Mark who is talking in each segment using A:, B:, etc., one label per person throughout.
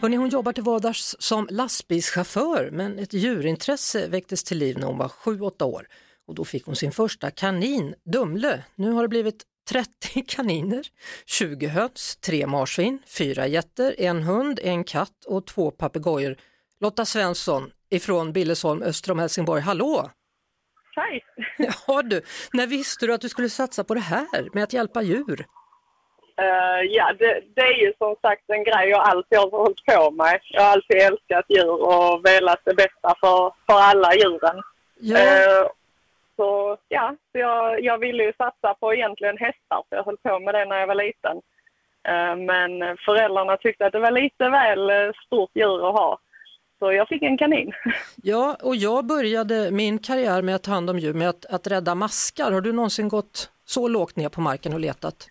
A: Hörrni, hon jobbar till vardags som lastbilschaufför men ett djurintresse väcktes till liv när hon var 7-8 år och då fick hon sin första kanin, Dumle. Nu har det blivit 30 kaniner, 20 höns, 3 marsvin, 4 getter, en hund, en katt och två papegojor. Lotta Svensson ifrån Billesholm öster om Helsingborg, hallå!
B: Hej!
A: Ja du, när visste du att du skulle satsa på det här med att hjälpa djur?
B: Eh, ja, det, det är ju som sagt en grej jag alltid har hållit på med. Jag har alltid älskat djur och velat det bästa för, för alla djuren.
A: Ja,
B: Eh, så ja, så jag, jag ville ju satsa på egentligen hästar, för jag höll på med det när jag var liten. Eh, men föräldrarna tyckte att det var lite väl eh, stort djur att ha. Så jag fick en kanin.
A: ja, och jag började min karriär med att ta hand om djur med att, att rädda maskar. Har du någonsin gått så lågt ner på marken och letat?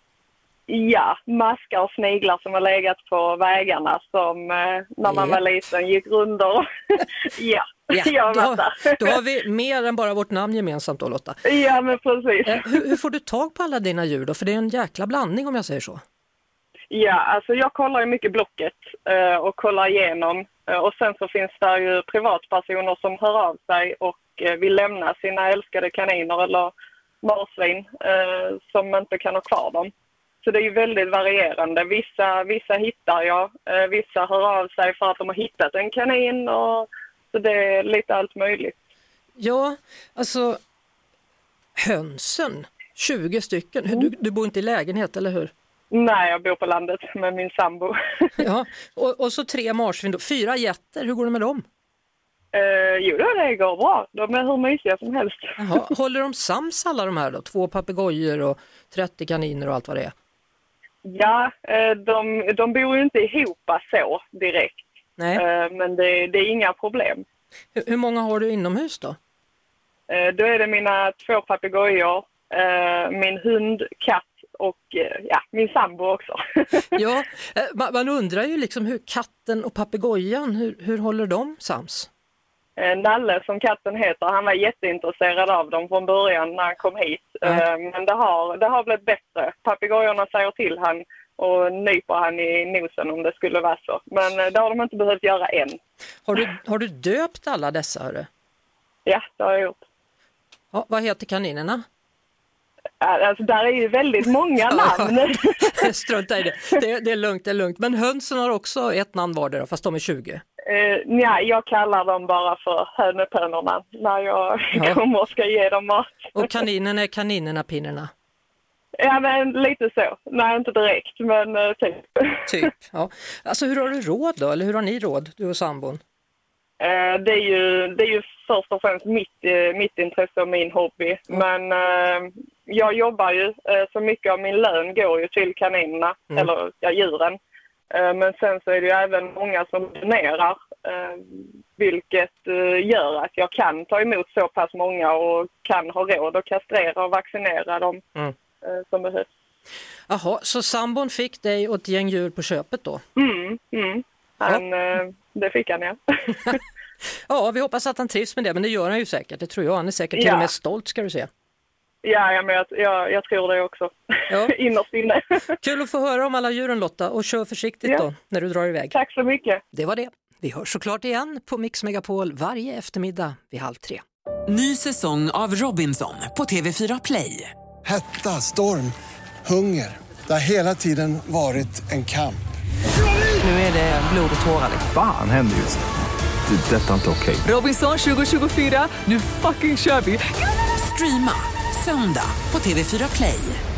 B: Ja, maskar och sniglar som har legat på vägarna som eh, när man
A: Japp.
B: var liten gick rundor. ja, jag har
A: då,
B: varit där.
A: har- då har vi mer än bara vårt namn gemensamt då Lotta.
B: Ja, men precis.
A: Eh, hur, hur får du tag på alla dina djur då? För det är en jäkla blandning om jag säger så.
B: Ja, alltså jag kollar ju mycket Blocket eh, och kollar igenom. Eh, Och sen så finns det ju privatpersoner som hör av sig och eh, vill lämna sina älskade kaniner eller marsvin eh, som inte kan ha kvar dem. Så det är ju väldigt varierande. Vissa, vissa hittar jag, eh, vissa hör av sig för att de har hittat en kanin. Och, så det är lite allt möjligt.
A: Ja, alltså hönsen, 20 stycken. Hur-
B: Mm.
A: Du, du bor inte i lägenhet eller hur?
B: Nej, jag bor på landet med min sambo.
A: Ja, och, och så tre marsvin, då. fyra getter, hur går det med dem?
B: Eh, jo, då, det går bra. De är hur mysiga som helst.
A: Jaha, håller de sams alla de här då? Två papegojor och 30 kaniner och allt vad det är?
B: Ja, eh, de, de bor ju inte ihop så direkt.
A: Nej.
B: Eh, Men det, det är inga problem.
A: Hur, hur många har du inomhus då?
B: Eh, Då är det mina två papegojor, eh, min hund, katt och eh, ja, min sambo också.
A: Ja, eh, man, man undrar ju liksom hur katten och papegojan, hur, hur håller de sams?
B: Eh, Nalle, som katten heter, han var jätteintresserad av dem från början när han kom hit. Eh, Men det har, det har blivit bättre. Papegojorna säger till han och nyper han i nosen om det skulle vara så. Men eh, det har de inte behövt göra än.
A: Har du, har du döpt alla dessa? Hörru?
B: Ja, det har jag gjort.
A: Ja, vad heter kaninerna?
B: Ja, Alltså, där är ju väldigt många namn.
A: Strunta i det. det, det är lugnt, det är lugnt. Men hönsen har också ett namn vardera, fast de är 20.
B: Eh, nja, jag kallar dem bara för hönepönorna när jag
A: Ja.
B: kommer och ska ge dem mat.
A: Och kaninerna är kaninerna, pinnerna.
B: Ja, men lite så. Nej, inte direkt, men eh, typ.
A: Typ. Ja. Alltså hur har du råd då? Eller hur har ni råd, du och sambon?
B: Eh, det, är ju, det är ju först och främst mitt, eh, mitt intresse och min hobby.
A: Mm.
B: Men eh, jag jobbar ju, eh, så mycket av min lön går ju till kaninerna,
A: Mm.
B: eller ja, djuren. Eh, men sen så är det ju även många som donerar, eh, vilket eh, gör att jag kan ta emot så pass många och kan ha råd att kastrera och vaccinera dem
A: Mm.
B: eh, som behövs.
A: Jaha, så sambon fick dig och ett gäng djur på köpet då?
B: Mm, mm. Han, eh, det fick han, ja.
A: Ja, vi hoppas att han trivs med det, men det gör han ju säkert. Det tror jag. Han är säkert till
B: Ja.
A: och med stolt ska du se.
B: ja, ja men jag, jag, jag tror det också,
A: Ja.
B: innerst inne.
A: Kul att få höra om alla djuren Lotta och kör försiktigt
B: Ja.
A: då när du drar iväg.
B: Tack så mycket.
A: Det var det. Vi hörs såklart igen på Mix Megapol varje eftermiddag vid halv tre.
C: Ny säsong av Robinson på TV4 Play.
D: Hetta, storm, hunger. Det har hela tiden varit en kamp.
E: Nu är det blod och tårar.
F: Fan händer just nu. det. är Detta är inte okej.
E: Robinson 2024, nu fucking kör vi!
C: Streama söndag på TV4 Play.